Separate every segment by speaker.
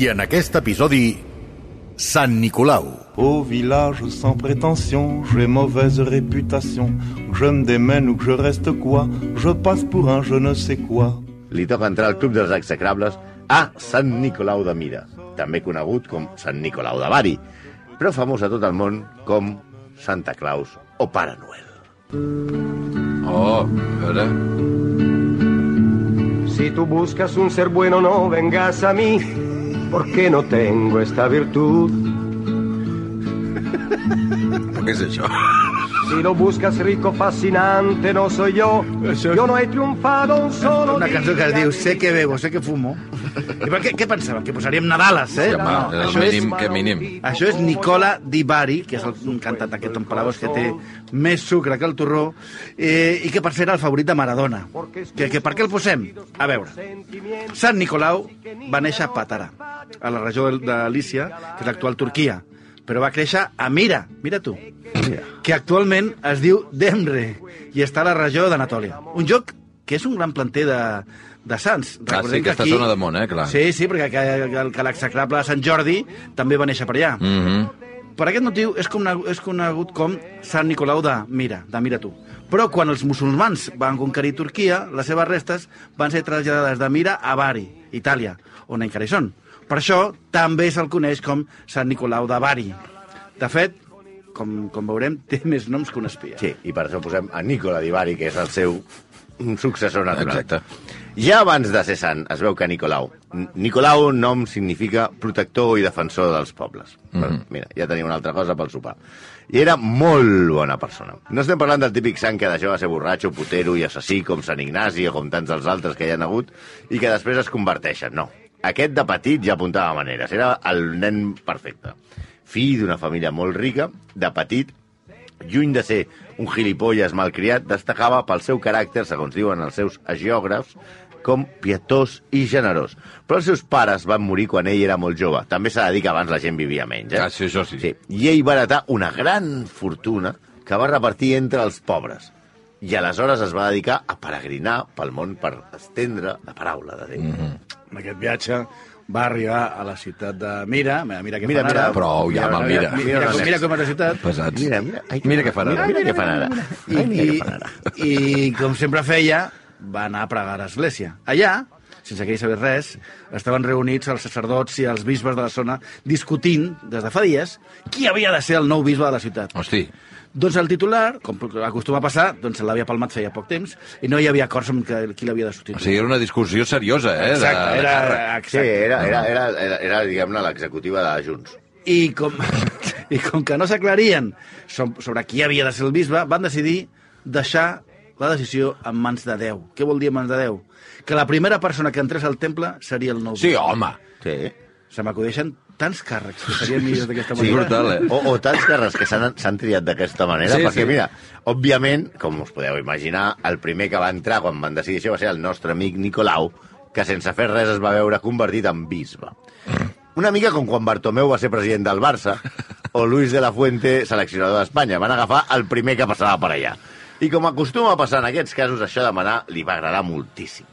Speaker 1: I en aquest episodi, Sant Nicolau.
Speaker 2: Au village sans prétention, j'ai mauvaise réputation. Que Je me démène ou que je reste quoi Je passe pour un je ne sais quoi.
Speaker 3: li toca entrar al Club dels Execrables a Sant Nicolau de Mira, també conegut com Sant Nicolau de Bari, però famós a tot el món com Santa Claus o Pare Noel.
Speaker 4: Oh, a veure...
Speaker 5: Si tú buscas un ser bueno, no vengas a mí, porque no tengo esta virtud.
Speaker 4: Però què és això?
Speaker 5: Si lo buscas rico, fascinante, no soy yo. Yo no he triunfado un solo
Speaker 6: Una cançó que es
Speaker 5: día.
Speaker 6: diu Sé que bebo, sé que fumo. I per què, què pensaven? Que posaríem Nadales, eh?
Speaker 4: Sí, home,
Speaker 6: no,
Speaker 4: això
Speaker 6: només-
Speaker 4: mínim que mínim.
Speaker 6: Això és Nicola Di Bari, que és el cantant aquest amb paraules que té més sucre que el torró, eh, i que per ser era el favorit de Maradona. Que, que per què el posem? A veure, Sant Nicolau va néixer a Patara, a la regió de- de Lícia, que és l'actual Turquia, però va créixer a Mira, mira tu, que actualment es diu Demre, i està a la regió d'Anatòlia. Un joc que és un gran planter de, de Sants.
Speaker 4: Ah, sí, aquesta zona de món, eh, clar.
Speaker 6: Sí, sí, perquè que, que, que l'execrable de Sant Jordi també va néixer per allà.
Speaker 4: Mm
Speaker 3: Mhm.
Speaker 6: Per aquest motiu és, com, és conegut com Sant Nicolau de Mira, de Mira tu. Però quan els musulmans van conquerir Turquia, les seves restes van ser traslladades de Mira a Bari, Itàlia, on encara hi són. Per això també se'l coneix com Sant Nicolau de Bari. De fet, com, com veurem, té més noms que un espia.
Speaker 3: Sí, i per això posem a Nicola Di Bari, que és el seu successor natural.
Speaker 4: Exacte.
Speaker 3: Ja abans de ser sant, es veu que Nicolau... N- Nicolau, nom significa protector i defensor dels pobles. Mm -hmm. Mira, ja tenim una altra cosa pel sopar. I era molt bona persona. No estem parlant del típic sant que deixava de ser borratxo, putero i assassí, com Sant Ignasi o com tants dels altres que hi han hagut, i que després es converteixen. No. Aquest de petit ja apuntava maneres. Era el nen perfecte. Fill d'una família molt rica, de petit lluny de ser un gilipolles malcriat, destacava pel seu caràcter, segons diuen els seus geògrafs, com pietós i generós. Però els seus pares van morir quan ell era molt jove. També s'ha de dir que abans la gent vivia menys. Eh?
Speaker 4: Ah, sí, això sí.
Speaker 3: sí. I ell va heretar una gran fortuna que va repartir entre els pobres. I aleshores es va dedicar a peregrinar pel món per estendre la paraula de Déu. Mm
Speaker 4: Mhm.
Speaker 3: -hmm.
Speaker 6: En aquest viatge va arribar a la ciutat de Mira, mira, mira què
Speaker 3: Mira,
Speaker 6: fan ara.
Speaker 3: mira,
Speaker 4: prou, ja, home, mira.
Speaker 6: Mira, mira, mira, com- mira com és la ciutat.
Speaker 4: Pesats.
Speaker 3: Mira, mira, ai,
Speaker 4: Mira què fan ara.
Speaker 3: Mira, mira què fan ara.
Speaker 6: I,
Speaker 3: Ai, mira què
Speaker 6: i,
Speaker 3: fan ara.
Speaker 6: I com sempre feia, va anar a pregar a l'església. Allà, sense que ell sabés res, estaven reunits els sacerdots i els bisbes de la zona discutint, des de fa dies, qui havia de ser el nou bisbe de la ciutat.
Speaker 4: Hosti,
Speaker 6: Doncs el titular, com acostuma a passar, doncs se l'havia palmat feia poc temps i no hi havia acords amb que- qui l'havia de
Speaker 4: o
Speaker 6: substituir.
Speaker 4: sigui, era una discussió seriosa, eh? de-
Speaker 6: Exacte,
Speaker 4: de càrrec.
Speaker 6: era...
Speaker 3: Sí,
Speaker 6: Exacte.
Speaker 3: era, era, era, era, era diguem-ne, l'executiva de Junts.
Speaker 6: I com, i com que no s'aclarien so- sobre qui havia de ser el bisbe, van decidir deixar la decisió en mans de Déu. Què vol dir en mans de Déu? Que la primera persona que entrés al temple seria el nou
Speaker 4: Sí,
Speaker 6: bisbe.
Speaker 4: home.
Speaker 3: Sí.
Speaker 6: Se m'acudeixen tants càrrecs que serien millors d'aquesta
Speaker 4: Sí,
Speaker 6: manera.
Speaker 4: brutal, eh?
Speaker 3: O, o tants carrers que s'han s'han triat d'aquesta manera,
Speaker 4: Sí,
Speaker 3: sí, perquè,
Speaker 4: sí.
Speaker 3: sí. mira, òbviament, com us podeu imaginar, el primer que va entrar quan van decidir això va ser el nostre amic Nicolau, que sense fer res es va veure convertit en bisbe. Una mica com quan Bartomeu va ser president del Barça o Luis de la Fuente, seleccionador d'Espanya. Van agafar el primer que passava per allà. I com acostuma a passar en aquests casos, això de manar li va agradar moltíssim.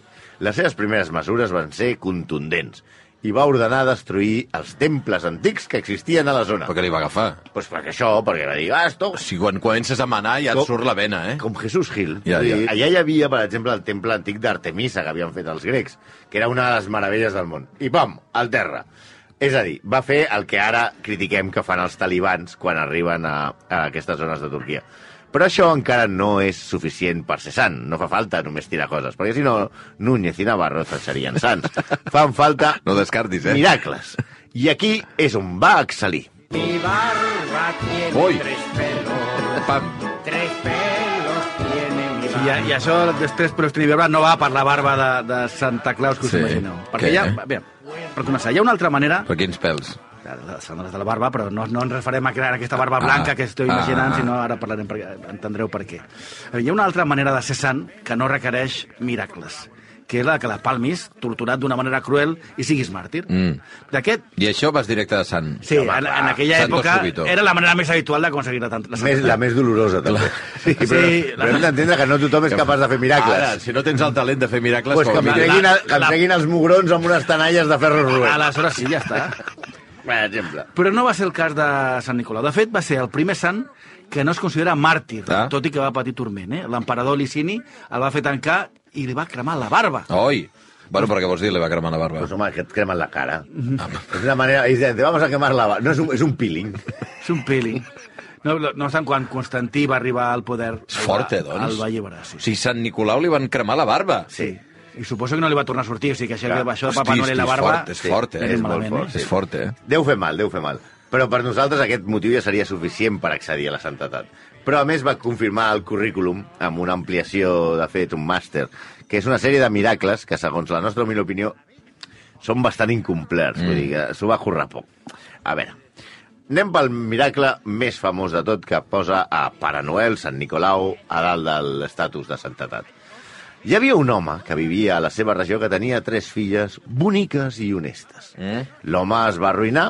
Speaker 3: Les seves primeres mesures van ser contundents i va ordenar destruir els temples antics que existien a la zona.
Speaker 4: Però què li va agafar?
Speaker 3: Pues perquè això, perquè va dir, ah, esto,
Speaker 4: O sigui, quan comences a manar ja et
Speaker 3: Com-
Speaker 4: surt la vena, eh?
Speaker 3: com Jesús Gil.
Speaker 4: Ja, ja.
Speaker 3: Allà hi havia, per exemple, el temple antic d'Artemisa que havien fet els grecs, que era una de les meravelles del món. I pam, al terra. És a dir, va fer el que ara critiquem que fan els talibans quan arriben a, a aquestes zones de Turquia. Però això encara no és suficient per ser sant. No fa falta només tirar coses, perquè si no, Núñez i Navarro se'n serien sants. Fan falta
Speaker 4: No descartis, eh?
Speaker 3: miracles. I aquí és on va excel·lir.
Speaker 5: Mi barba tiene
Speaker 4: Uy.
Speaker 5: tres pelos,
Speaker 4: Pam.
Speaker 5: tres pelos tiene mi
Speaker 6: I,
Speaker 5: barba.
Speaker 6: I això dels tres pelos que li no va per la barba de, de Santa Claus, que us
Speaker 4: Sí.
Speaker 6: imagineu. Perquè
Speaker 4: Què?
Speaker 6: ja, bé, per començar, hi ha una altra manera...
Speaker 4: Per quins pèls?
Speaker 6: Són les de la barba, però no, no ens referem a crear aquesta barba blanca que estic imaginant,
Speaker 4: ah.
Speaker 6: sinó ara parlarem, perquè entendreu per què. Eh, Hi ha una altra manera de ser sant que no requereix miracles, que és la que la palmis, torturat d'una manera cruel, i siguis màrtir.
Speaker 4: Mm.
Speaker 6: D'aquest,
Speaker 4: I això vas directe de Sant.
Speaker 6: sí, en, en aquella
Speaker 4: Santo
Speaker 6: època,
Speaker 4: Subito.
Speaker 6: era la manera més habitual d'aconseguir la, tant- la
Speaker 3: Més, la més dolorosa, també. Sí, però,
Speaker 6: sí, la-
Speaker 3: però hem d'entendre que no tothom és capaç de fer miracles.
Speaker 4: Ara, si no tens el talent de fer miracles...
Speaker 3: pues que
Speaker 4: com a
Speaker 3: em
Speaker 4: mínim.
Speaker 3: treguin, el,
Speaker 6: la-
Speaker 3: que em
Speaker 6: la-
Speaker 3: treguin els mugrons amb unes tanalles de ferro roent.
Speaker 6: Aleshores sí, ja està.
Speaker 3: Per exemple.
Speaker 6: Però no va ser el cas de Sant Nicolau. De fet, va ser el primer sant que no es considera màrtir,
Speaker 4: Ah.
Speaker 6: tot i que va patir turment. Eh? L'emperador Licini el va fer tancar i li va cremar la barba.
Speaker 4: Oi! Bueno, però què vols dir? Li va cremar la barba.
Speaker 3: Pues home, que et cremen la cara. És una manera... ells deien, "Te vamos a quemar la... ba-". No, és un, és un peeling.
Speaker 6: És un peeling. No, no no tant quan Constantí va arribar al poder.
Speaker 4: És fort, eh, doncs?
Speaker 6: El va alliberar, sí.
Speaker 4: O sigui, Sant Nicolau li van cremar la barba.
Speaker 6: sí. I suposo que no li va tornar a sortir, o sigui que això,
Speaker 3: Clar.
Speaker 6: que això de Papa Noel i la barba...
Speaker 4: és fort, és fort, eh?
Speaker 6: anem
Speaker 3: és molt
Speaker 6: malament,
Speaker 3: fort,
Speaker 6: eh?
Speaker 4: És fort, eh?
Speaker 3: Deu fer mal, deu fer mal. Però per nosaltres aquest motiu ja seria suficient per accedir a la santetat. Però a més va confirmar el currículum amb una ampliació, de fet, un màster, que és una sèrie de miracles que, segons la nostra humil opinió, són bastant incomplerts. Mm. Vull dir que s'ho va currar poc. A veure, anem pel miracle més famós de tot que posa a Pare Noel, Sant Nicolau, a dalt de l'estatus de santetat. Hi havia un home que vivia a la seva regió que tenia tres filles boniques i honestes.
Speaker 4: Mm.
Speaker 3: L'home es va arruïnar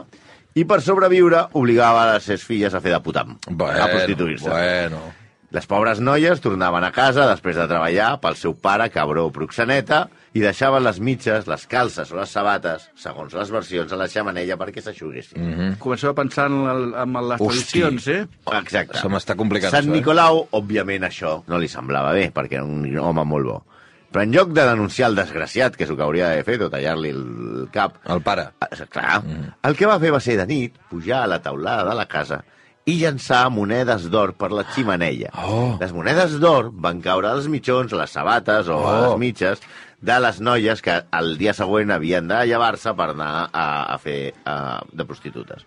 Speaker 3: i per sobreviure obligava a les seves filles a fer de putam, a prostituir-se.
Speaker 4: Bueno,
Speaker 3: Les pobres noies tornaven a casa després de treballar pel seu pare, cabró o proxeneta, i deixaven les mitges, les calces o les sabates, segons les versions, a la xamanella perquè s'aixuguessin.
Speaker 4: Mhm.
Speaker 3: Mm -hmm.
Speaker 6: Comenceu a pensar en, el, en les
Speaker 4: Hosti.
Speaker 6: tradicions, eh?
Speaker 3: Exacte.
Speaker 4: Se m'està complicant
Speaker 3: Sant
Speaker 4: això, eh?
Speaker 3: Nicolau, òbviament, això no li semblava bé, perquè era un home molt bo. Però en lloc de denunciar el desgraciat, que és el que hauria d'haver fet, o tallar-li el cap,
Speaker 4: el pare.
Speaker 3: Eh, Clar, mm. el que va fer va ser de nit pujar a la teulada de la casa i llançar monedes d'or per la ximenella.
Speaker 4: Oh.
Speaker 3: Les monedes d'or van caure als mitjons, a les sabates o oh. a
Speaker 4: Oh.
Speaker 3: les mitges de les noies que el dia següent havien de llevar-se per anar a, a fer a, de prostitutes.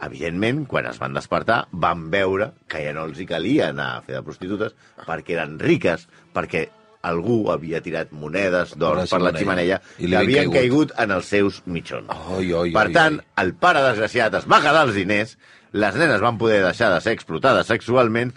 Speaker 3: Evidentment, quan es van despertar, van veure que ja no els hi calia anar a fer de prostitutes perquè eren riques, perquè algú havia tirat monedes d'or per la ximenella
Speaker 4: I li
Speaker 3: que
Speaker 4: havien
Speaker 3: havien
Speaker 4: caigut.
Speaker 3: caigut en els seus mitjons.
Speaker 4: Oi, oi,
Speaker 3: Per
Speaker 4: oi,
Speaker 3: tant,
Speaker 4: oi.
Speaker 3: el pare desgraciat es va quedar els diners, les nenes van poder deixar de ser explotades sexualment,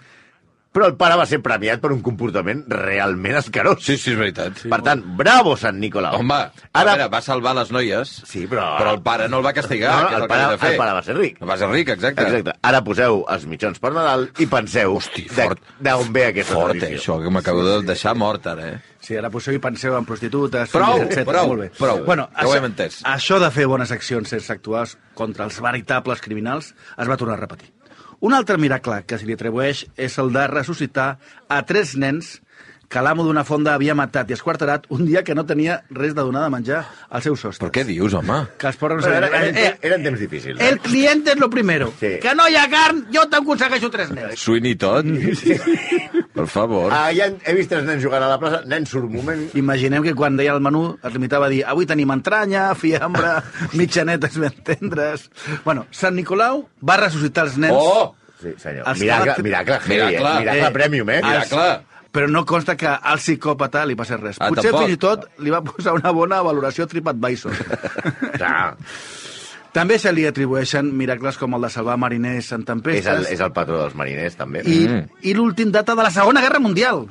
Speaker 3: però el pare va ser premiat per un comportament realment escarós.
Speaker 4: Sí, sí, és veritat.
Speaker 3: per tant, bravo, Sant Nicolau.
Speaker 4: Home,
Speaker 3: Ara-
Speaker 4: Ara... a veure, va salvar les noies,
Speaker 3: Sí, però-
Speaker 4: però el pare no el va castigar,
Speaker 3: No,
Speaker 4: que és
Speaker 3: el
Speaker 4: el, que havia
Speaker 3: pare-
Speaker 4: de fer.
Speaker 3: el pare va ser ric.
Speaker 4: Va ser ric, exacte.
Speaker 3: Exacte. Ara poseu els mitjons per Nadal i penseu
Speaker 4: Hosti,
Speaker 3: de-
Speaker 4: fort.
Speaker 3: d'on ve aquesta
Speaker 4: Fort, eh,
Speaker 3: tradició.
Speaker 4: això, que m'acabo sí, de deixar mort, ara, eh?
Speaker 6: Sí, ara poseu i penseu en prostitutes,
Speaker 4: Prou,
Speaker 6: filles, etcètera.
Speaker 4: prou,
Speaker 6: Molt bé.
Speaker 4: prou.
Speaker 6: Bueno,
Speaker 4: Ja ho hem entès.
Speaker 6: Això de fer bones accions sense actuar contra els veritables criminals es va tornar a repetir. Un altre miracle que se li atribueix és el de ressuscitar a tres nens que l'amo d'una fonda havia matat i esquarterat un dia que no tenia res de donar de menjar als seus sostres.
Speaker 4: Però què dius, home?
Speaker 6: Que els pobres...
Speaker 3: Però era- eren-
Speaker 6: Eh, eh,
Speaker 3: eren temps difícils, eh?
Speaker 6: el client és lo primero.
Speaker 3: Sí.
Speaker 6: Que no hi ha carn, jo t'aconsegueixo tres nens.
Speaker 4: Swin i tot? Per favor.
Speaker 3: Ah, ja he vist tres nens jugant a la plaça, nens surmument,
Speaker 6: Imaginem que quan deia el menú es limitava a dir avui tenim entranya, fiambre, mitjanetes ben tendres... Bueno, Sant Nicolau va ressuscitar els nens,
Speaker 4: Oh!
Speaker 3: Sí, senyor.
Speaker 6: Es
Speaker 3: Miracle,
Speaker 6: queda-
Speaker 3: miracle, heavy, miracle,
Speaker 4: Miracle.
Speaker 3: eh? miracle
Speaker 6: Eh,
Speaker 3: premium, eh?
Speaker 4: Mira, clar.
Speaker 6: però no consta que al psicòpata li passés res.
Speaker 4: Ah,
Speaker 6: Potser
Speaker 4: tampoc.
Speaker 6: fins i tot li va posar una bona valoració a TripAdvisor.
Speaker 3: Clar.
Speaker 6: També se li atribueixen miracles com el de salvar mariners
Speaker 3: És
Speaker 6: en
Speaker 3: el,
Speaker 6: tempestes
Speaker 3: és el patró dels mariners, també.
Speaker 6: i, i l'últim data de la Segona Guerra Mundial.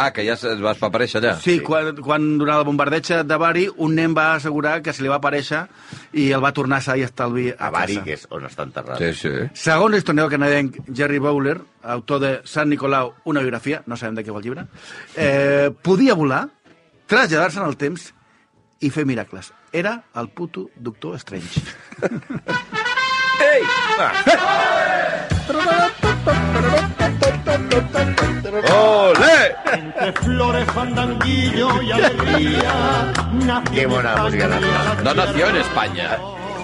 Speaker 4: Ah, que ja es va aparèixer allà.
Speaker 6: Sí, quan, quan durant el bombardeig de Bari un nen va assegurar que se li va aparèixer i el va tornar a sa i estalvi a,
Speaker 3: A Bari,
Speaker 6: casa.
Speaker 3: Mm-hmm. que és on està enterrat.
Speaker 4: Sí, sí.
Speaker 6: Segons l'historiador canadenc Jerry Bowler, autor de Sant Nicolau, una biografia, no sabem de què va el llibre, eh, podia volar, traslladar-se en el temps i fer miracles. Era el puto doctor Strange.
Speaker 3: Que bona música nacional.
Speaker 4: No nació en España.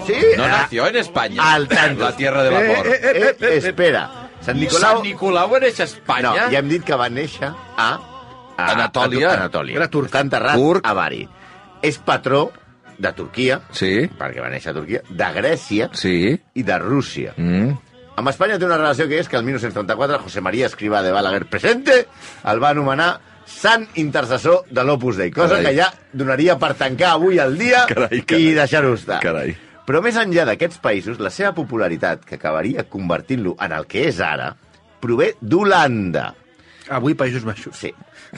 Speaker 3: Sí?
Speaker 4: No
Speaker 3: ah,
Speaker 4: nació en España.
Speaker 3: Al tanto.
Speaker 4: La tierra de vapor.
Speaker 3: eh, eh, eh, espera. Sant Nicolau...
Speaker 4: San Nicolau en Espanya?
Speaker 3: No, ja hem dit que va néixer a... a
Speaker 4: Anatòlia.
Speaker 3: A, Anatòlia.
Speaker 6: Era turc.
Speaker 3: Està enterrat
Speaker 4: Turc.
Speaker 3: a Bari. És patró de Turquia,
Speaker 4: Sí,
Speaker 3: perquè va néixer a Turquia, de Grècia
Speaker 4: sí.
Speaker 3: i de Rússia.
Speaker 4: Mm.
Speaker 3: Amb Espanya té una relació que és que el 1934 José María Escrivá de Balaguer presente el va anomenar Sant intercessor de l'Opus Dei, cosa
Speaker 7: Carai.
Speaker 3: que ja donaria per tancar avui el dia
Speaker 7: Carai, carai.
Speaker 3: i deixar-ho
Speaker 7: Ah,
Speaker 3: estar.
Speaker 7: Carai.
Speaker 3: Però més enllà d'aquests països, la seva popularitat, que acabaria convertint-lo en el que és ara, prové d'Holanda.
Speaker 6: Avui Països Baixos.
Speaker 3: Sí,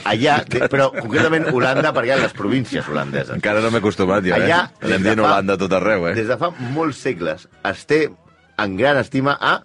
Speaker 3: allà, de- però concretament Holanda, perquè hi ha les províncies holandeses.
Speaker 7: Encara no m'he acostumat jo,
Speaker 3: Allà,
Speaker 7: eh? Anem dient Holanda a tot arreu, eh?
Speaker 3: Des de fa molts segles es té en gran estima a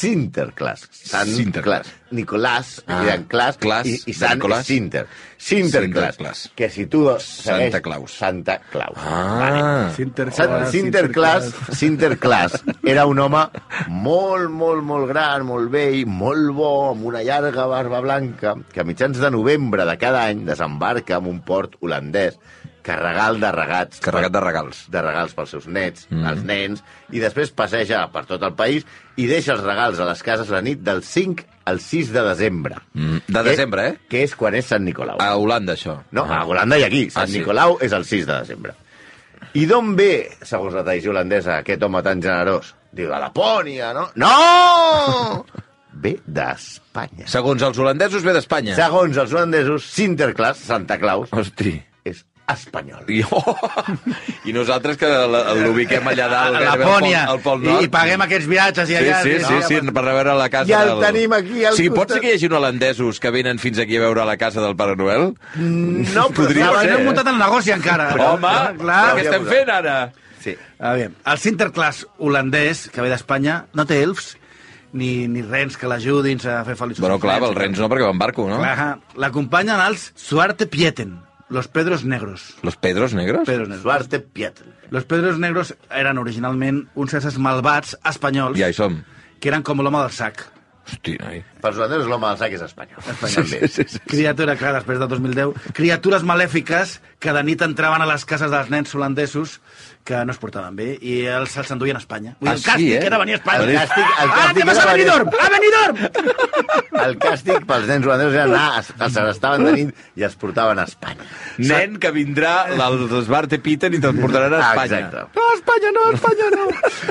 Speaker 3: Sinterklaas. Sant
Speaker 7: Sinterklaas.
Speaker 3: Sinterklaas. Nicolàs,
Speaker 7: Ah,
Speaker 3: ah, i Claas,
Speaker 7: Claas
Speaker 3: i, i
Speaker 7: de
Speaker 3: Sant
Speaker 7: Nicolàs.
Speaker 3: Sinter. Sinterklaas,
Speaker 7: Sinterklaas.
Speaker 3: que si tu segueix...
Speaker 7: Santa Claus.
Speaker 3: Santa Claus.
Speaker 7: Ah,
Speaker 3: Sant Sinterklaas, Sinterklaas era un home molt, molt, molt gran, molt vell, molt bo, amb una llarga barba blanca, que a mitjans de novembre de cada any desembarca en un port holandès carregat de regats.
Speaker 7: Carregat de regals.
Speaker 3: De regals pels seus nets, mm. els nens, i després passeja per tot el país i deixa els regals a les cases la nit del 5 al 6 de desembre.
Speaker 7: Mm, de desembre, eh?
Speaker 3: Que és quan és Sant Nicolau.
Speaker 7: a Holanda, això.
Speaker 3: No, a Holanda i aquí. Sant
Speaker 7: Ah, sí.
Speaker 3: Nicolau és el 6 de desembre. I d'on ve, segons la tradició holandesa, aquest home tan generós? Diu, de Lapònia, no? No! ve d'Espanya.
Speaker 7: Segons els holandesos, ve d'Espanya.
Speaker 3: Segons els holandesos, Sinterklaas, Santa Claus,
Speaker 7: Hosti.
Speaker 3: és espanyol.
Speaker 7: Oh. I, oh, I nosaltres que la- l'ubiquem allà dalt,
Speaker 6: A
Speaker 7: gairebé
Speaker 6: Lapònia.
Speaker 7: al Pol, al Pol
Speaker 6: I,
Speaker 7: Nord.
Speaker 6: I paguem aquests viatges
Speaker 7: Sí,
Speaker 6: i allà...
Speaker 7: sí, sí, sí, per veure la casa
Speaker 3: eh? I el
Speaker 7: del...
Speaker 3: tenim aquí al
Speaker 7: sí, pot
Speaker 3: costat.
Speaker 7: ser que hi hagi holandesos que venen fins aquí a veure la casa del Pare Noel?
Speaker 3: No, però
Speaker 7: Podria
Speaker 3: saben-
Speaker 7: ser,
Speaker 6: No
Speaker 7: eh?
Speaker 6: hem muntat el negoci encara.
Speaker 7: Home,
Speaker 6: Clar, clar.
Speaker 7: però què estem fent ara?
Speaker 3: Sí.
Speaker 6: A veure, el Sinterklaas holandès, que ve d'Espanya, no té elfs ni, ni rens que l'ajudin a fer feliços.
Speaker 7: Bueno,
Speaker 6: els
Speaker 7: clar,
Speaker 6: nens.
Speaker 7: els rens no, perquè van barco, no?
Speaker 6: Clar, l'acompanyen els Suarte Pieten, los Pedros Negros.
Speaker 7: Los pedros negros?
Speaker 6: Pedros negros.
Speaker 3: Suarte Pietl.
Speaker 6: Los Pedros Negros eren originalment uns éssers malvats espanyols
Speaker 7: Ja hi som.
Speaker 6: que eren com l'home del sac.
Speaker 7: Hosti, noi.
Speaker 3: Pels holandesos l'home del sac és espanyol.
Speaker 6: Espanyol.
Speaker 3: També.
Speaker 6: Criatura, clar, després del 2010, criatures malèfiques que de nit entraven a les cases dels nens holandesos que no es portaven bé i els se'ls enduien a Espanya. Vull dir,
Speaker 7: Ah,
Speaker 6: el
Speaker 7: sí,
Speaker 6: càstig
Speaker 7: eh?
Speaker 6: era venir a Espanya.
Speaker 3: El càstig- el
Speaker 6: ah,
Speaker 3: càstig
Speaker 6: que vas
Speaker 3: era
Speaker 6: a
Speaker 3: venir-
Speaker 6: Benidorm! A Benidorm!
Speaker 3: El càstig pels nens holandesos era anar, es, es arrestaven de nit i es portaven a Espanya.
Speaker 7: Nen que vindrà l'Esbar de Piten i te'l portaran a Espanya.
Speaker 3: Ah, Exacte.
Speaker 6: No, Espanya no, Espanya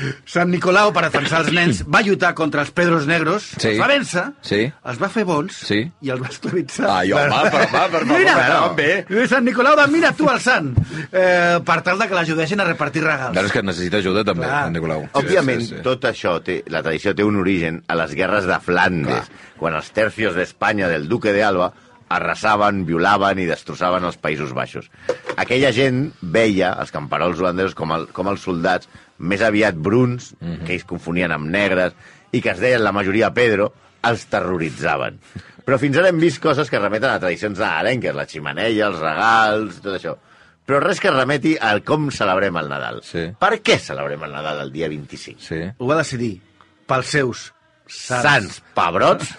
Speaker 6: no! Sant Nicolau, per defensar els nens, va lluitar contra els Pedros Negros,
Speaker 7: Sí.
Speaker 6: els va vèncer,
Speaker 7: Sí.
Speaker 6: els va fer bons
Speaker 7: Sí.
Speaker 6: i els va esclavitzar.
Speaker 7: Ai, home, però, home, per favor,
Speaker 6: Mira,
Speaker 7: però, home.
Speaker 6: Lluís Sant Nicolau de mira tu al sant, eh, per tal de que l'ajudessin a repartir regals.
Speaker 7: Veus que necessita ajuda, també,
Speaker 6: Clar.
Speaker 7: en Nicolau.
Speaker 3: Òbviament,
Speaker 7: Sí, sí, sí.
Speaker 3: tot això, té, la tradició té un origen a les guerres de Flandes, quan els tercios d'Espanya del duque de Alba arrasaven, violaven i destrossaven els Països Baixos. Aquella gent veia els camperols holandesos com, el, com els soldats més aviat bruns, mm
Speaker 7: Mhm.
Speaker 3: -hmm. que ells confonien amb negres, i que es deien la majoria Pedro, els terroritzaven. Però fins ara hem vist coses que remeten a tradicions nadalenques, la ximeneia, els regals, tot això. Però res que remeti al com celebrem el Nadal.
Speaker 7: Sí.
Speaker 3: Per què celebrem el Nadal el dia 25?
Speaker 7: Sí.
Speaker 6: Ho va decidir pels seus sants.
Speaker 3: Sants pebrots?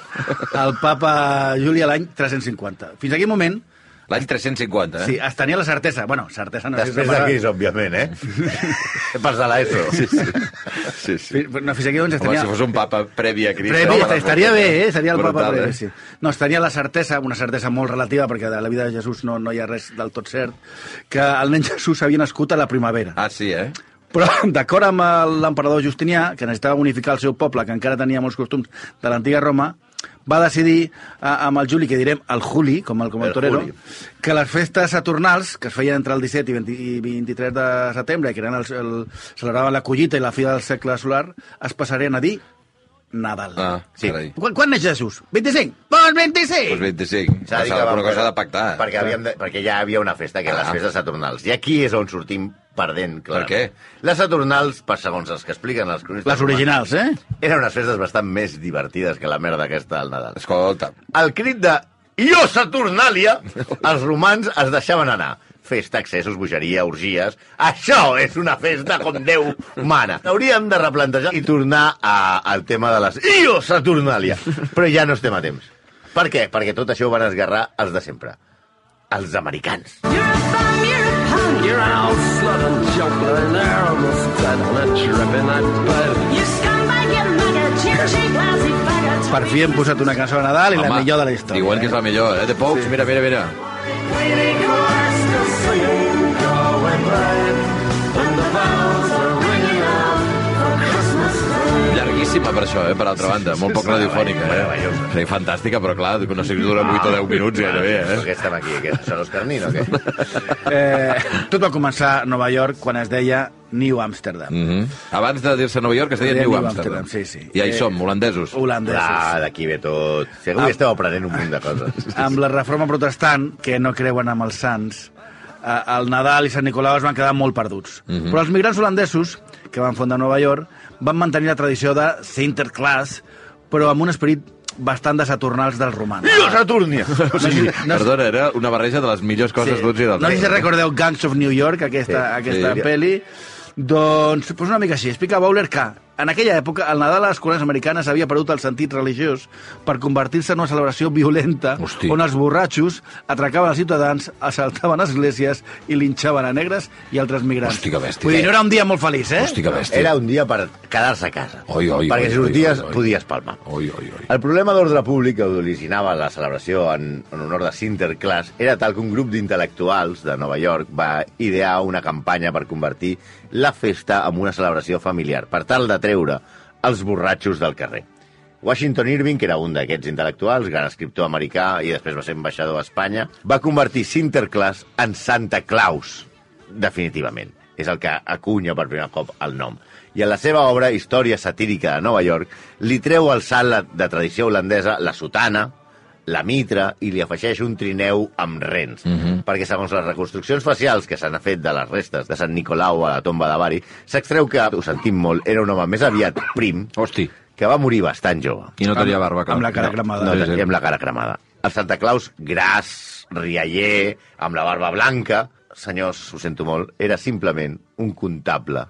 Speaker 6: El papa Juli a l'any 350. Fins aquell moment,
Speaker 7: L'any 350, eh?
Speaker 6: sí, es tenia la certesa. Bueno, certesa no
Speaker 3: Després
Speaker 6: sé
Speaker 3: d'aquells, òbviament, eh? Pels de l'ESO. Sí, sí.
Speaker 7: sí, sí.
Speaker 6: Fins, no, fins aquell doncs es
Speaker 7: Home,
Speaker 6: tenia...
Speaker 7: si fos un papa previ a Crist...
Speaker 6: Previ,
Speaker 7: home,
Speaker 6: estaria bé, eh? Seria el
Speaker 7: brutal,
Speaker 6: papa previ,
Speaker 7: eh?
Speaker 6: sí. No, es tenia la certesa, una certesa molt relativa, perquè de la vida de Jesús no, no hi ha res del tot cert, que el nen Jesús havia nascut a la primavera.
Speaker 7: Ah, sí, eh?
Speaker 6: Però, d'acord amb el- l'emperador Justinià, que necessitava unificar el seu poble, que encara tenia molts costums de l'antiga Roma, va decidir a, amb el Juli, que direm el Juli, com el, com el,
Speaker 3: El
Speaker 6: torero,
Speaker 3: Juli.
Speaker 6: que les festes saturnals, que es feien entre el 17 i, 20, i 23 de setembre, que eren els, el, celebraven la collita i la fi del segle solar, es passarien a dir Nadal.
Speaker 7: Ah, sí.
Speaker 3: Sí.
Speaker 7: carai.
Speaker 6: Quan, quan neix Jesús? 25? Doncs 25!
Speaker 7: Doncs 25.
Speaker 3: S'ha de dir que
Speaker 7: S'ha
Speaker 3: vam
Speaker 7: alguna cosa
Speaker 3: perdre-
Speaker 7: de pactar.
Speaker 3: Perquè, havíem de, perquè ja havia una festa, que ah. les
Speaker 7: Ah.
Speaker 3: festes saturnals. I aquí és on sortim perdent, clar.
Speaker 7: què?
Speaker 3: Les saturnals, per segons els que expliquen els cronistes...
Speaker 6: Les originals, eh?
Speaker 3: romans, Eren unes festes bastant més divertides que la merda aquesta del Nadal.
Speaker 7: Escolta,
Speaker 3: El crit de «Io Saturnalia!» els romans es deixaven anar. Festa, excessos, bogeria, orgies... Això és una festa com Déu mana. Hauríem de replantejar i tornar a, al tema de les «Io Saturnalia!» Però ja no estem a temps. Per què? Perquè tot això ho van esgarrar els de sempre. Els americans.
Speaker 8: You're a bum, you're a punk.
Speaker 5: You're an old slut and joker, an arrow stud, and a tripping at bud.
Speaker 8: You scumbag, you mugger, chick, chick, lousy bugger.
Speaker 6: Per fi hem posat una cançó de Nadal i la millor de la història.
Speaker 7: Diuen que és la millor, eh? De Pocs, mira, mira, mira.
Speaker 8: Waiting chorus still singing, going by. And the bells are ringing out for Christmas Day.
Speaker 7: Llarguíssim.
Speaker 4: Boníssima per això, eh? per altra banda. Molt poc radiofònica. Eh?
Speaker 3: Meravellosa.
Speaker 4: Sí, fantàstica, però clar, no sé si dura 8
Speaker 6: Ah,
Speaker 4: o 10 minuts gairebé.
Speaker 3: Però
Speaker 4: Eh?
Speaker 3: Què estem aquí? Què, són els carnins o què?
Speaker 6: Eh, tot va començar a Nova York quan es deia New Amsterdam. Mm.
Speaker 4: Mhm. Abans de dir-se Nova York es deia New Amsterdam.
Speaker 6: Sí, sí.
Speaker 4: I ahí
Speaker 6: Eh,
Speaker 4: som, holandesos. Ah.
Speaker 6: Holandesos.
Speaker 3: Ah, d'aquí ve tot. Segur que esteu aprenent un munt de coses.
Speaker 6: amb la reforma protestant, que no creuen amb els sants, eh, el Nadal i Sant Nicolau es van quedar molt perduts. Però els migrants holandesos, que van fundar Nova York, van mantenir la tradició de Sinterklaas, però amb un esperit bastant de Saturnals dels romans.
Speaker 3: Saturnia!
Speaker 6: No sé si- no sé-
Speaker 4: Perdona, era una barreja de les millors coses
Speaker 6: sí.
Speaker 4: d'uns i dels
Speaker 6: No sé si recordeu Gangs of New York, aquesta,
Speaker 4: Sí,
Speaker 6: aquesta
Speaker 4: sí.
Speaker 6: peli. Doncs, doncs una mica així. Explica Bowler que en aquella època el Nadal a les colònies americanes havia perdut el sentit religiós per convertir-se en una celebració violenta
Speaker 4: Hosti.
Speaker 6: on els borratxos atracaven els ciutadans, assaltaven esglésies i linxaven a negres i altres migrants.
Speaker 4: Hosti, que bèstia.
Speaker 6: Vull dir, no era un dia molt feliç, eh?
Speaker 4: Hosti, que bèstia.
Speaker 3: Era un dia per quedar-se a casa.
Speaker 4: Oi, oi,
Speaker 3: perquè
Speaker 4: oi,
Speaker 3: si sorties
Speaker 4: oi, oi.
Speaker 3: podies palmar.
Speaker 4: Oi, oi, oi.
Speaker 3: El problema d'ordre públic que originava la celebració en, en honor de Sinterklaas era tal que un grup d'intel·lectuals de Nova York va idear una campanya per convertir la festa en una celebració familiar, per tal de treure els borratxos del carrer. Washington Irving, que era un d'aquests intel·lectuals, gran escriptor americà i després va ser ambaixador a Espanya, va convertir Sinterklaas en Santa Claus, definitivament. És el que acunya per primer cop el nom. I en la seva obra, Història satírica de Nova York, li treu al salt la- de tradició holandesa la sotana, la mitra i li afegeix un trineu amb rens. Perquè segons les reconstruccions facials que s'han fet de les restes de Sant Nicolau a la tomba de Bari, s'extreu que, ho sentim molt, era un home més aviat prim,
Speaker 4: Hosti,
Speaker 3: que va morir bastant jove.
Speaker 4: i no tenia barba, clar.
Speaker 6: amb la cara
Speaker 4: No,
Speaker 6: cremada.
Speaker 3: No,
Speaker 4: sí, sí.
Speaker 3: tenia amb la cara cremada. El Santa Claus, gras, rialler, amb la barba blanca, senyors, ho sento molt, era simplement un comptable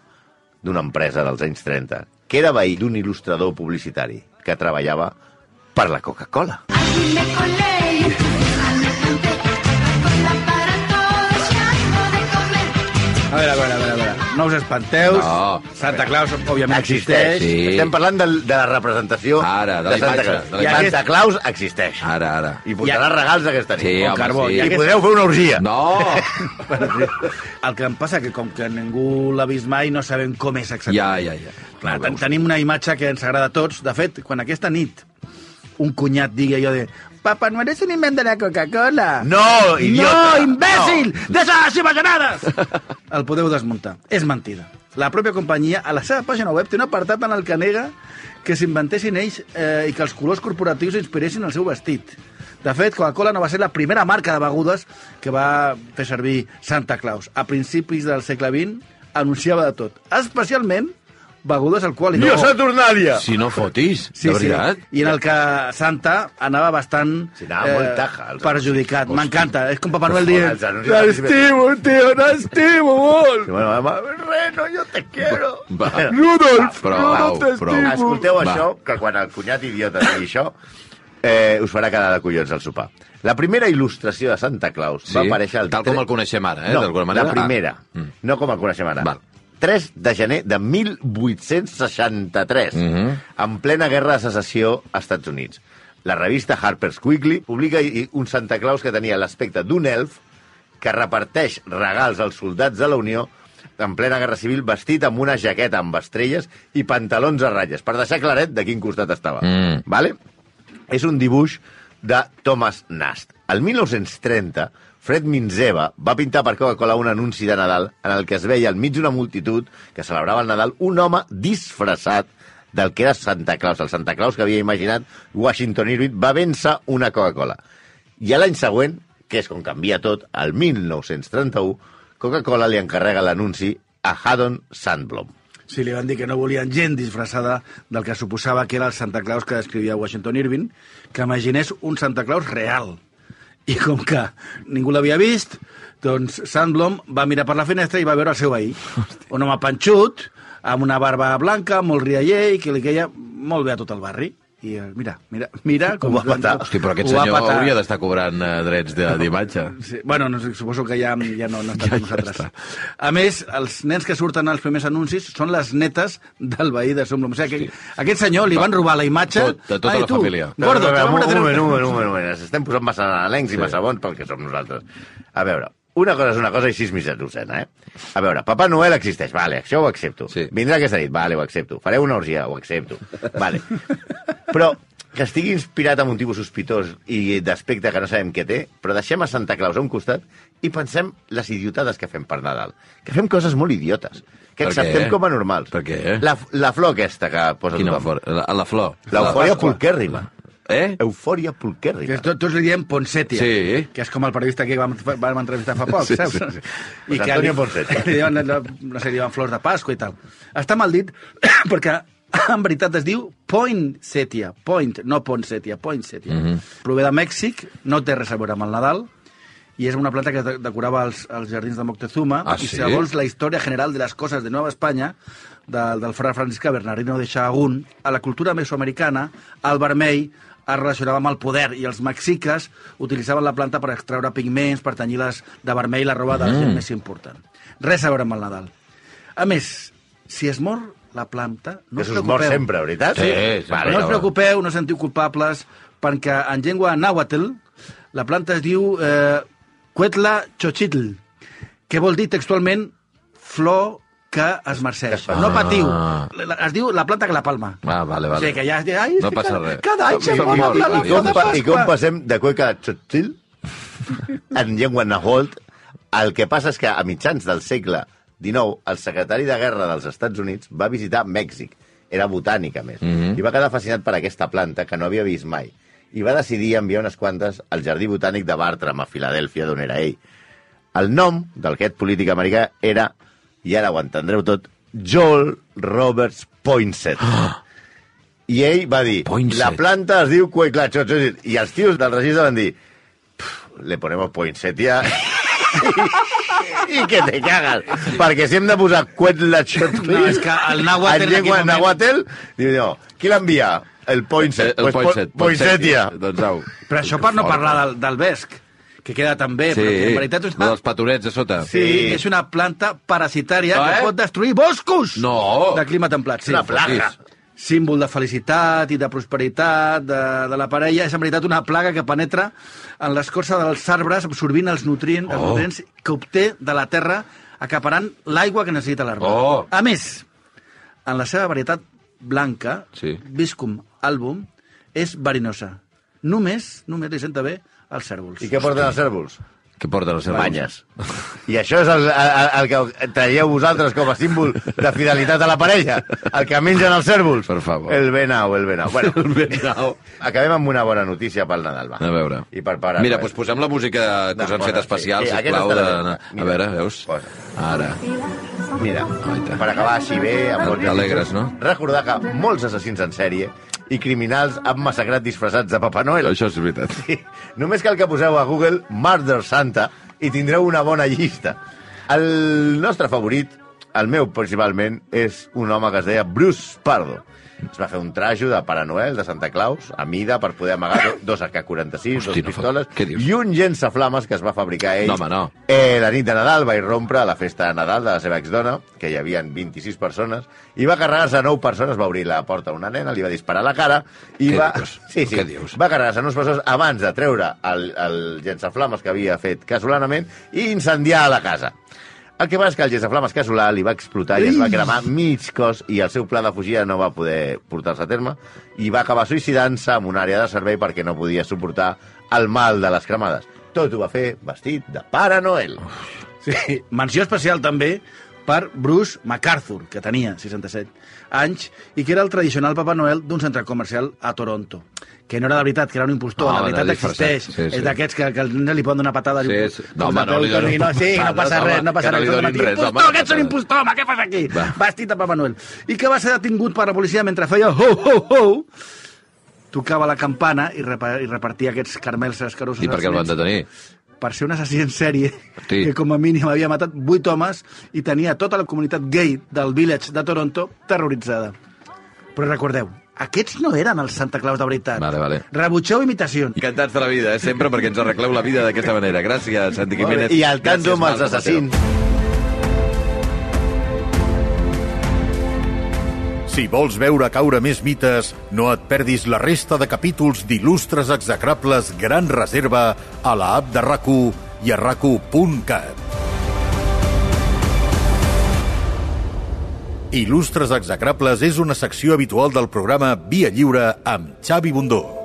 Speaker 3: d'una empresa dels anys 30, que era veí d'un il·lustrador publicitari que treballava per la Coca-Cola.
Speaker 8: Hazme con ley, aléjate, cola para todos y algo de comer.
Speaker 6: A veure, a veure, a veure, a veure. No us espanteu.
Speaker 4: No.
Speaker 6: Santa Claus, òbviament,
Speaker 3: Existeix.
Speaker 6: existeix.
Speaker 4: Sí.
Speaker 3: Estem parlant de, de la representació
Speaker 4: Ara, de la
Speaker 3: Santa
Speaker 4: imatge,
Speaker 3: Claus.
Speaker 4: de la
Speaker 3: Santa
Speaker 6: imatge.
Speaker 3: Claus existeix.
Speaker 4: Ara, ara.
Speaker 3: I portarà regals aquesta nit.
Speaker 4: Sí,
Speaker 6: Con
Speaker 4: home,
Speaker 6: carbó,
Speaker 4: sí.
Speaker 6: i
Speaker 3: I
Speaker 6: aquest-
Speaker 3: podreu fer una orgia.
Speaker 4: No!
Speaker 6: El que em passa que com que ningú l'ha vist mai no sabem com és
Speaker 4: Ja,
Speaker 6: exactament.
Speaker 4: ja, ja.
Speaker 6: Clar, ten tenim una imatge que ens agrada a tots. De fet, quan aquesta nit un cunyat digui allò de Papa Noel és un invent de la Coca-Cola.
Speaker 3: No, idiota!
Speaker 6: No, imbècil! No. Deixa les imaginades! El podeu desmuntar. És mentida. La pròpia companyia, a la seva pàgina web, té un apartat en el que nega que s'inventessin ells eh, i que els colors corporatius inspiressin el seu vestit. De fet, Coca-Cola no va ser la primera marca de begudes que va fer servir Santa Claus. A principis del segle XX anunciava de tot, especialment begudes alcohòliques.
Speaker 3: No. Saturnàlia!
Speaker 4: Si no fotis, de veritat.
Speaker 6: I en el que Santa anava bastant eh,
Speaker 3: Sí, anava molt taja, els
Speaker 6: perjudicat. M'encanta, és com Papa Noel
Speaker 3: Joder,
Speaker 6: dient...
Speaker 3: els anuncis de principi-
Speaker 6: tio, l'estimo molt!
Speaker 3: Bueno, mamá, Reno, yo te quiero.
Speaker 4: Va.
Speaker 6: Rudolf,
Speaker 4: Però, au, però...
Speaker 3: Escolteu
Speaker 4: Va.
Speaker 3: això, que quan el cunyat idiota digui això, eh, us farà quedar de collons al sopar. La primera il·lustració de Santa Claus
Speaker 4: Sí,
Speaker 3: va aparèixer... El
Speaker 4: tal com el coneixem ara, eh,
Speaker 3: No,
Speaker 4: d'alguna
Speaker 3: la
Speaker 4: manera.
Speaker 3: primera,
Speaker 4: Ah, mm.
Speaker 3: no com el coneixem ara.
Speaker 4: Val.
Speaker 3: 3 de gener de 1863,
Speaker 4: Mhm.
Speaker 3: en plena guerra de secessió a Estats Units. La revista Harper's Weekly publica i- un Santa Claus que tenia l'aspecte d'un elf que reparteix regals als soldats de la Unió en plena guerra civil vestit amb una jaqueta amb estrelles i pantalons a ratlles, per deixar claret de quin costat estava.
Speaker 4: Mm.
Speaker 3: Vale? És un dibuix de Thomas Nast. El 1930, Fred Minzeva va pintar per Coca-Cola un anunci de Nadal en el que es veia enmig d'una multitud que celebrava el Nadal un home disfressat del que era Santa Claus. El Santa Claus que havia imaginat Washington Irving va vèncer una Coca-Cola. I a l'any següent, que és com canvia tot, el 1931, Coca-Cola li encarrega l'anunci a Haddon Sandblom.
Speaker 6: Sí, li van dir que no volien gent disfressada del que suposava que era el Santa Claus que descrivia Washington Irving, que imaginés un Santa Claus real. I com que ningú l'havia vist, doncs Sandblom va mirar per la finestra i va veure el seu veí. Un home panxut, amb una barba blanca, molt rialler, i que li queia molt bé a tot el barri. I eh, mira, mira, mira com
Speaker 3: va petar.
Speaker 4: Hosti, però aquest
Speaker 6: ho va
Speaker 4: senyor
Speaker 6: petar.
Speaker 4: hauria d'estar cobrant eh, drets de- d'imatge.
Speaker 6: Sí, bueno, no, sé, suposo que ja, ja no,
Speaker 4: Ja-
Speaker 6: no està ja,
Speaker 4: ja
Speaker 6: amb nosaltres.
Speaker 4: està.
Speaker 6: a més, els nens que surten als primers anuncis són les netes del veí de Somblom. O sigui, que aquest senyor li van robar la imatge...
Speaker 4: Tot- de tota
Speaker 6: Ai,
Speaker 4: la
Speaker 6: tu,
Speaker 4: família.
Speaker 3: a
Speaker 6: Gordo, te
Speaker 3: veure,
Speaker 6: vam
Speaker 3: un, un
Speaker 6: anar a treure-
Speaker 3: moment, un moment, un moment. Ens estem posant massa analencs sí. i massa bons pel que som nosaltres. A veure, Una cosa és una cosa i sis mitges docena, eh? A veure, Papa Noel existeix, vale, això ho accepto.
Speaker 4: Sí.
Speaker 3: Vindrà aquesta nit, vale, ho accepto. Fareu una orgia, ho accepto. Vale. Però que estigui inspirat en un tipus sospitós i d'aspecte que no sabem què té, però deixem a Santa Claus a un costat i pensem les idiotades que fem per Nadal. Que fem coses molt idiotes, que
Speaker 4: Per
Speaker 3: acceptem
Speaker 4: què?
Speaker 3: com a normals.
Speaker 4: Per què?
Speaker 3: La, la flor aquesta que posa
Speaker 4: Quina
Speaker 3: tothom.
Speaker 4: flor? La, la flor.
Speaker 3: L'eufòria pulquèrrima.
Speaker 4: Eh?
Speaker 3: Eufòria
Speaker 6: Que
Speaker 3: pulquèrrima.
Speaker 6: to- tots li diem Ponsetia,
Speaker 4: Sí.
Speaker 6: que és com el periodista que vam, vam entrevistar fa poc,
Speaker 4: Sí, sí,
Speaker 6: saps?
Speaker 4: sí.
Speaker 3: Pues Antonio Ponsetia.
Speaker 6: Li diuen, no, no sé, li diuen flors de Pasqua i tal. Està mal dit perquè en veritat es diu Poinsettia, point, no Ponsetia, Poinsettia. Mm
Speaker 4: Mhm.
Speaker 6: -hmm. Prové de Mèxic, no té res a veure amb el Nadal, i és una planta que de- decorava els, els jardins de Moctezuma,
Speaker 4: Ah,
Speaker 6: i
Speaker 4: sí?
Speaker 6: segons la història general de les coses de Nova Espanya, del, del frare franciscà Bernardino de Sahagún, a la cultura mesoamericana, el vermell es relacionava amb el poder i els mexiques utilitzaven la planta per extraure pigments, per tenyir les de vermell la roba de la gent més important. Res a veure amb el Nadal. A més, si es mor la planta, no
Speaker 3: Que
Speaker 6: us
Speaker 3: s'us mor
Speaker 6: preocupeu.
Speaker 3: sempre, veritat?
Speaker 4: Sí, sempre.
Speaker 3: Vale,
Speaker 6: No us
Speaker 4: Però-
Speaker 6: preocupeu, no sentiu culpables, perquè en llengua nàhuatl la planta es diu eh, Cuetla Xochitl, que vol dir textualment flor que es marceix.
Speaker 3: Ah.
Speaker 6: No patiu. La- Es diu la planta que la palma.
Speaker 4: Ah, vale,
Speaker 6: O
Speaker 4: vale.
Speaker 6: sigui que ja... Ai,
Speaker 4: No
Speaker 6: és que
Speaker 4: passa
Speaker 6: cada,
Speaker 4: res.
Speaker 6: Cada any se
Speaker 4: I-
Speaker 6: mor
Speaker 4: i-
Speaker 6: la, la, la
Speaker 4: i
Speaker 3: I
Speaker 6: flor
Speaker 3: com,
Speaker 6: de
Speaker 3: pa, I com
Speaker 6: Pasqua.
Speaker 3: passem de cueca txotxil en llengua naholt, el que passa és que a mitjans del segle XIX el secretari de Guerra dels Estats Units va visitar Mèxic. Era botànic, a més. I va quedar fascinat per aquesta planta que no havia vist mai. I va decidir enviar unes quantes al Jardí Botànic de Bartram, a Filadèlfia, d'on era ell. El nom d'aquest polític americà era, i ara ho entendreu tot, Joel Roberts Poinsett. I ell va dir,
Speaker 4: Poinsett.
Speaker 3: la planta es diu Cueclacho. I els tios del registre van dir, "Pff, le ponemos Poinsettia i que te cagas. Perquè si hem de posar Cueclachotril
Speaker 6: No, és que el nàhuatl
Speaker 3: en
Speaker 6: en
Speaker 3: llengua
Speaker 6: aquell moment-
Speaker 3: nàhuatl, diu, no, qui l'envia? El Poinsett.
Speaker 4: Eh, El
Speaker 3: po-
Speaker 4: Poinsett.
Speaker 3: Poinsettia.
Speaker 4: Doncs au.
Speaker 6: Però això per no
Speaker 4: Fort.
Speaker 6: parlar del, del vesc, que queda tan bé,
Speaker 4: Sí,
Speaker 6: però que en veritat és
Speaker 4: no
Speaker 6: una,
Speaker 4: dels petonets de sota.
Speaker 6: sí. és una planta parasitària
Speaker 4: Ah, eh?
Speaker 6: que pot destruir boscos
Speaker 4: No.
Speaker 6: de clima templat. Sí.
Speaker 3: Una plaga.
Speaker 6: símbol de felicitat i de prosperitat de, de la parella, és en veritat una plaga que penetra en l'escorça dels arbres absorbint els nutrients,
Speaker 4: Oh.
Speaker 6: els nutrients que obté de la terra acaparant l'aigua que necessita l'arbre.
Speaker 4: Oh.
Speaker 6: A més, en la seva varietat blanca,
Speaker 4: Sí.
Speaker 6: Viscum album, és verinosa. Només, només li senta bé als cèrvols.
Speaker 3: I què porten els cèrvols?
Speaker 4: Què porta la seva?
Speaker 3: Banyes. I això és el, el, el que traieu vosaltres com a símbol de fidelitat a la parella. El que mengen els cèrvols.
Speaker 4: Per favor.
Speaker 3: El benau, el benau. Bueno,
Speaker 4: El benau.
Speaker 3: acabem amb una bona notícia pel Nadal, va.
Speaker 4: A veure.
Speaker 3: I per parar.
Speaker 4: Mira, doncs posem la música que
Speaker 3: No,
Speaker 4: us han
Speaker 3: posa,
Speaker 4: fet
Speaker 3: sí.
Speaker 4: especial,
Speaker 3: Sí,
Speaker 4: sí,
Speaker 3: aquesta
Speaker 4: sisplau.
Speaker 3: està
Speaker 4: De...
Speaker 3: bé.
Speaker 4: A
Speaker 3: Mira.
Speaker 4: veure, veus?
Speaker 3: Posa.
Speaker 4: Ara.
Speaker 3: Mira,
Speaker 4: i tant.
Speaker 3: per acabar així bé... Amb bones
Speaker 4: T'alegres,
Speaker 3: notícies,
Speaker 4: no?
Speaker 3: Recordar que molts assassins en sèrie i criminals han massacrat disfressats de Papa Noel.
Speaker 4: Això és veritat.
Speaker 3: Sí. Només cal que poseu a Google Murder Santa i tindreu una bona llista. El nostre favorit, el meu principalment, és un home que es deia Bruce Pardo. Es va fer un trajo de Pare Noel, de Santa Claus, a mida per poder amagar do- dos AK-46, dos
Speaker 4: Hosti, no fa-
Speaker 3: pistoles
Speaker 4: què dius?
Speaker 3: i un llançaflames que es va fabricar ell.
Speaker 4: No, home, no.
Speaker 3: Eh, la nit de Nadal va irrompre a la festa de Nadal de la seva exdona, que hi havien 26 persones, i va carregar-se a 9 persones, va obrir la porta a una nena, li va disparar a la cara i
Speaker 4: Què
Speaker 3: va...
Speaker 4: dius?
Speaker 3: Sí, sí.
Speaker 4: Què dius?
Speaker 3: Va carregar-se en uns passos abans de treure el, el llançaflames que havia fet casolanament i incendiar la casa. El que va és que el llançaflames casolà li va explotar i es va cremar mig cos i el seu pla de fugida no va poder portar-se a terme i va acabar suïcidant-se en una àrea de servei perquè no podia suportar el mal de les cremades. Tot ho va fer vestit de Pare Noel.
Speaker 6: Sí, menció especial també per Bruce MacArthur, que tenia 67 anys, i que era el tradicional Papa Noel d'un centre comercial a Toronto. Que no era de veritat, que era un impostor,
Speaker 4: No,
Speaker 6: la
Speaker 4: era
Speaker 6: veritat
Speaker 4: Ah, disfressat.
Speaker 6: existeix.
Speaker 4: Sí, sí.
Speaker 6: És d'aquests que, que els nens li poden donar patada.
Speaker 4: Sí,
Speaker 6: li-
Speaker 4: sí. No,
Speaker 6: els
Speaker 4: home, no li
Speaker 6: adults
Speaker 4: donin
Speaker 6: diuen, no, sí, no passa
Speaker 4: patades,
Speaker 6: res,
Speaker 4: home,
Speaker 6: no passa
Speaker 4: que no
Speaker 6: res.
Speaker 4: li
Speaker 6: tot el
Speaker 4: donin
Speaker 6: matí,
Speaker 4: res, home,
Speaker 6: impostor,
Speaker 4: que
Speaker 6: que ets un
Speaker 4: patades.
Speaker 6: impostor, home, què fas aquí?
Speaker 4: Va.
Speaker 6: Vestit de Papa Noel. I que va ser detingut per la policia mentre feia ho, ho, ho, tocava la campana i, repa- i repartia aquests carmels escarosos.
Speaker 4: I per
Speaker 6: als
Speaker 4: què el
Speaker 6: nens
Speaker 4: van detenir?
Speaker 6: per ser un assassí en sèrie
Speaker 4: Sí.
Speaker 6: que com a mínim havia matat vuit homes i tenia tota la comunitat gay del Village de Toronto terroritzada. Però recordeu, aquests no eren els Santa Claus de veritat.
Speaker 4: Vale, vale.
Speaker 6: Rebutgeu imitacions.
Speaker 4: Encantats de la vida, eh? sempre, perquè ens arregleu la vida d'aquesta manera. Gràcies, Santi Jiménez.
Speaker 3: I al tanto amb els
Speaker 4: Marta Mateu.
Speaker 3: assassins.
Speaker 1: Si vols veure caure més mites, no et perdis la resta de capítols d'il·lustres execrables Gran Reserva a la app de rac i a raco.cat. Il·lustres execrables és una secció habitual del programa Via Lliure amb Xavi Bundó.